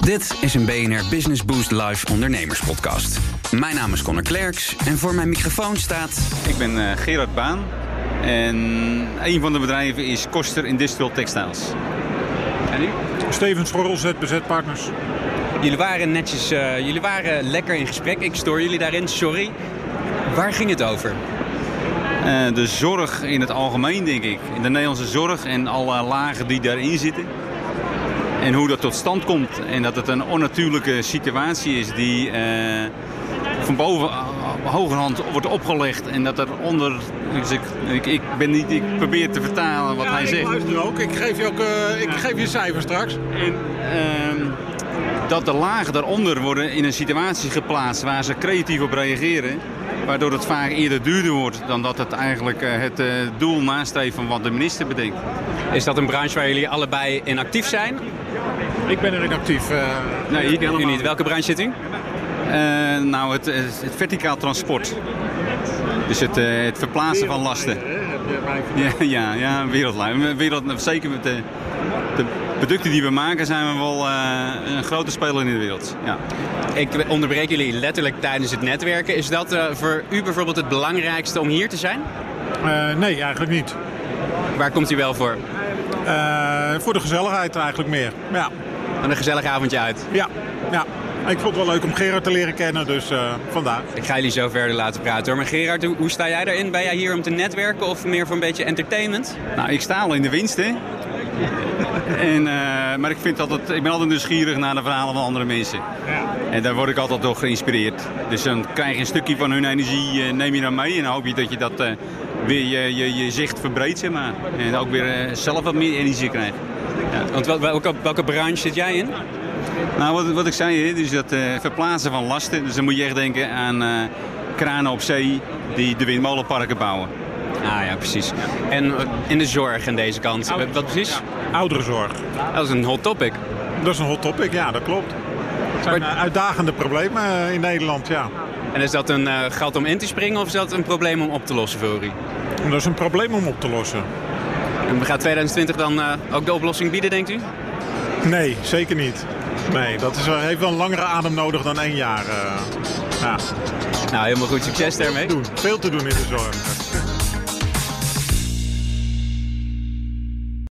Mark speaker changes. Speaker 1: Dit is een BNR Business Boost Live ondernemerspodcast. Mijn naam is Connor Klerks en voor mijn microfoon staat...
Speaker 2: Ik ben eh, Gerard Baan en een van de bedrijven is Koster Industrial Textiles. En u?
Speaker 3: Steven Schorrel, ZBZ Partners.
Speaker 4: Jullie waren netjes, eh, jullie waren lekker in gesprek. Ik stoor jullie daarin, sorry. Waar ging het over?
Speaker 2: Eh, de zorg in het algemeen, denk ik. De Nederlandse zorg en alle lagen die daarin zitten. En hoe dat tot stand komt. En dat het een onnatuurlijke situatie is die eh, van boven eh, hogerhand wordt opgelegd. En dat er onder. Dus ik, ik, ik, ben niet, ik probeer te vertalen wat hij zegt.
Speaker 3: Luister ook, ik geef je, ook, eh, ik geef je cijfers straks.
Speaker 2: En, ehm, dat de lagen daaronder worden in een situatie geplaatst waar ze creatief op reageren. Waardoor het vaak eerder duurder wordt dan dat het eigenlijk eh, het eh, doel nastreeft van wat de minister bedenkt.
Speaker 4: Is dat een branche waar jullie allebei in actief zijn?
Speaker 3: Ik ben erin actief. eh,
Speaker 2: Nee, ik
Speaker 4: U niet. Welke branche zit u?
Speaker 2: Eh, nou, het, het, het verticaal transport. Dus het, eh, het verplaatsen van lasten. Ja, ja, ja wereldlijn. Wereld, zeker met de, de producten die we maken zijn we wel eh, een grote speler in de wereld. Ja.
Speaker 4: Ik onderbreek jullie letterlijk tijdens het netwerken. Is dat eh, voor u bijvoorbeeld het belangrijkste om hier te zijn?
Speaker 3: eh, nee, eigenlijk niet.
Speaker 4: Waar komt u wel voor?
Speaker 3: Eh, voor de gezelligheid eigenlijk meer. Ja,
Speaker 4: Aan een gezellig avondje uit.
Speaker 3: ja, ja. Ik vond het wel leuk om Gerard te leren kennen, dus eh, vandaar.
Speaker 4: Ik ga jullie zo verder laten praten hoor. Maar Gerard, hoe hoe sta jij daarin? Ben jij hier om te netwerken of meer voor een beetje entertainment?
Speaker 2: Nou, ik sta al in de winst, hè. En, eh, maar ik, vind altijd, ik ben altijd nieuwsgierig naar de verhalen van andere mensen. En daar word ik altijd door geïnspireerd. Dus dan krijg je een stukje van hun energie, eh, neem je dan mee. En dan hoop je dat je dat eh, weer je, je, je zicht verbreedt, zeg maar. En ook weer eh, zelf wat meer energie krijgt.
Speaker 4: Want wel- welke, welke branche zit jij in?
Speaker 2: Nou, wat, wat ik zei, hè, dus dat eh, verplaatsen van lasten. Dus dan moet je echt denken aan eh, kranen op zee die de windmolenparken bouwen.
Speaker 4: Ah ja, precies. En eh, in de zorg aan deze kant. Eh, Wat precies?
Speaker 3: Ouderenzorg.
Speaker 4: Dat is een hot topic.
Speaker 3: Dat is een hot topic, ja, dat klopt. Het zijn
Speaker 4: Maar-
Speaker 3: eh, uitdagende problemen eh, in Nederland, ja.
Speaker 4: En is dat een eh gat om in te springen of is dat een probleem om op te lossen voor u?
Speaker 3: En dat is een probleem om op te lossen.
Speaker 4: En gaat 2020 dan eh, ook de oplossing bieden, denkt u?
Speaker 3: Nee, zeker niet. Nee, dat is, wel- heeft wel een langere adem nodig dan één jaar. eh. ja,
Speaker 4: Nou, helemaal goed. Succes daarmee.
Speaker 3: doen. Veel te doen in de zorg.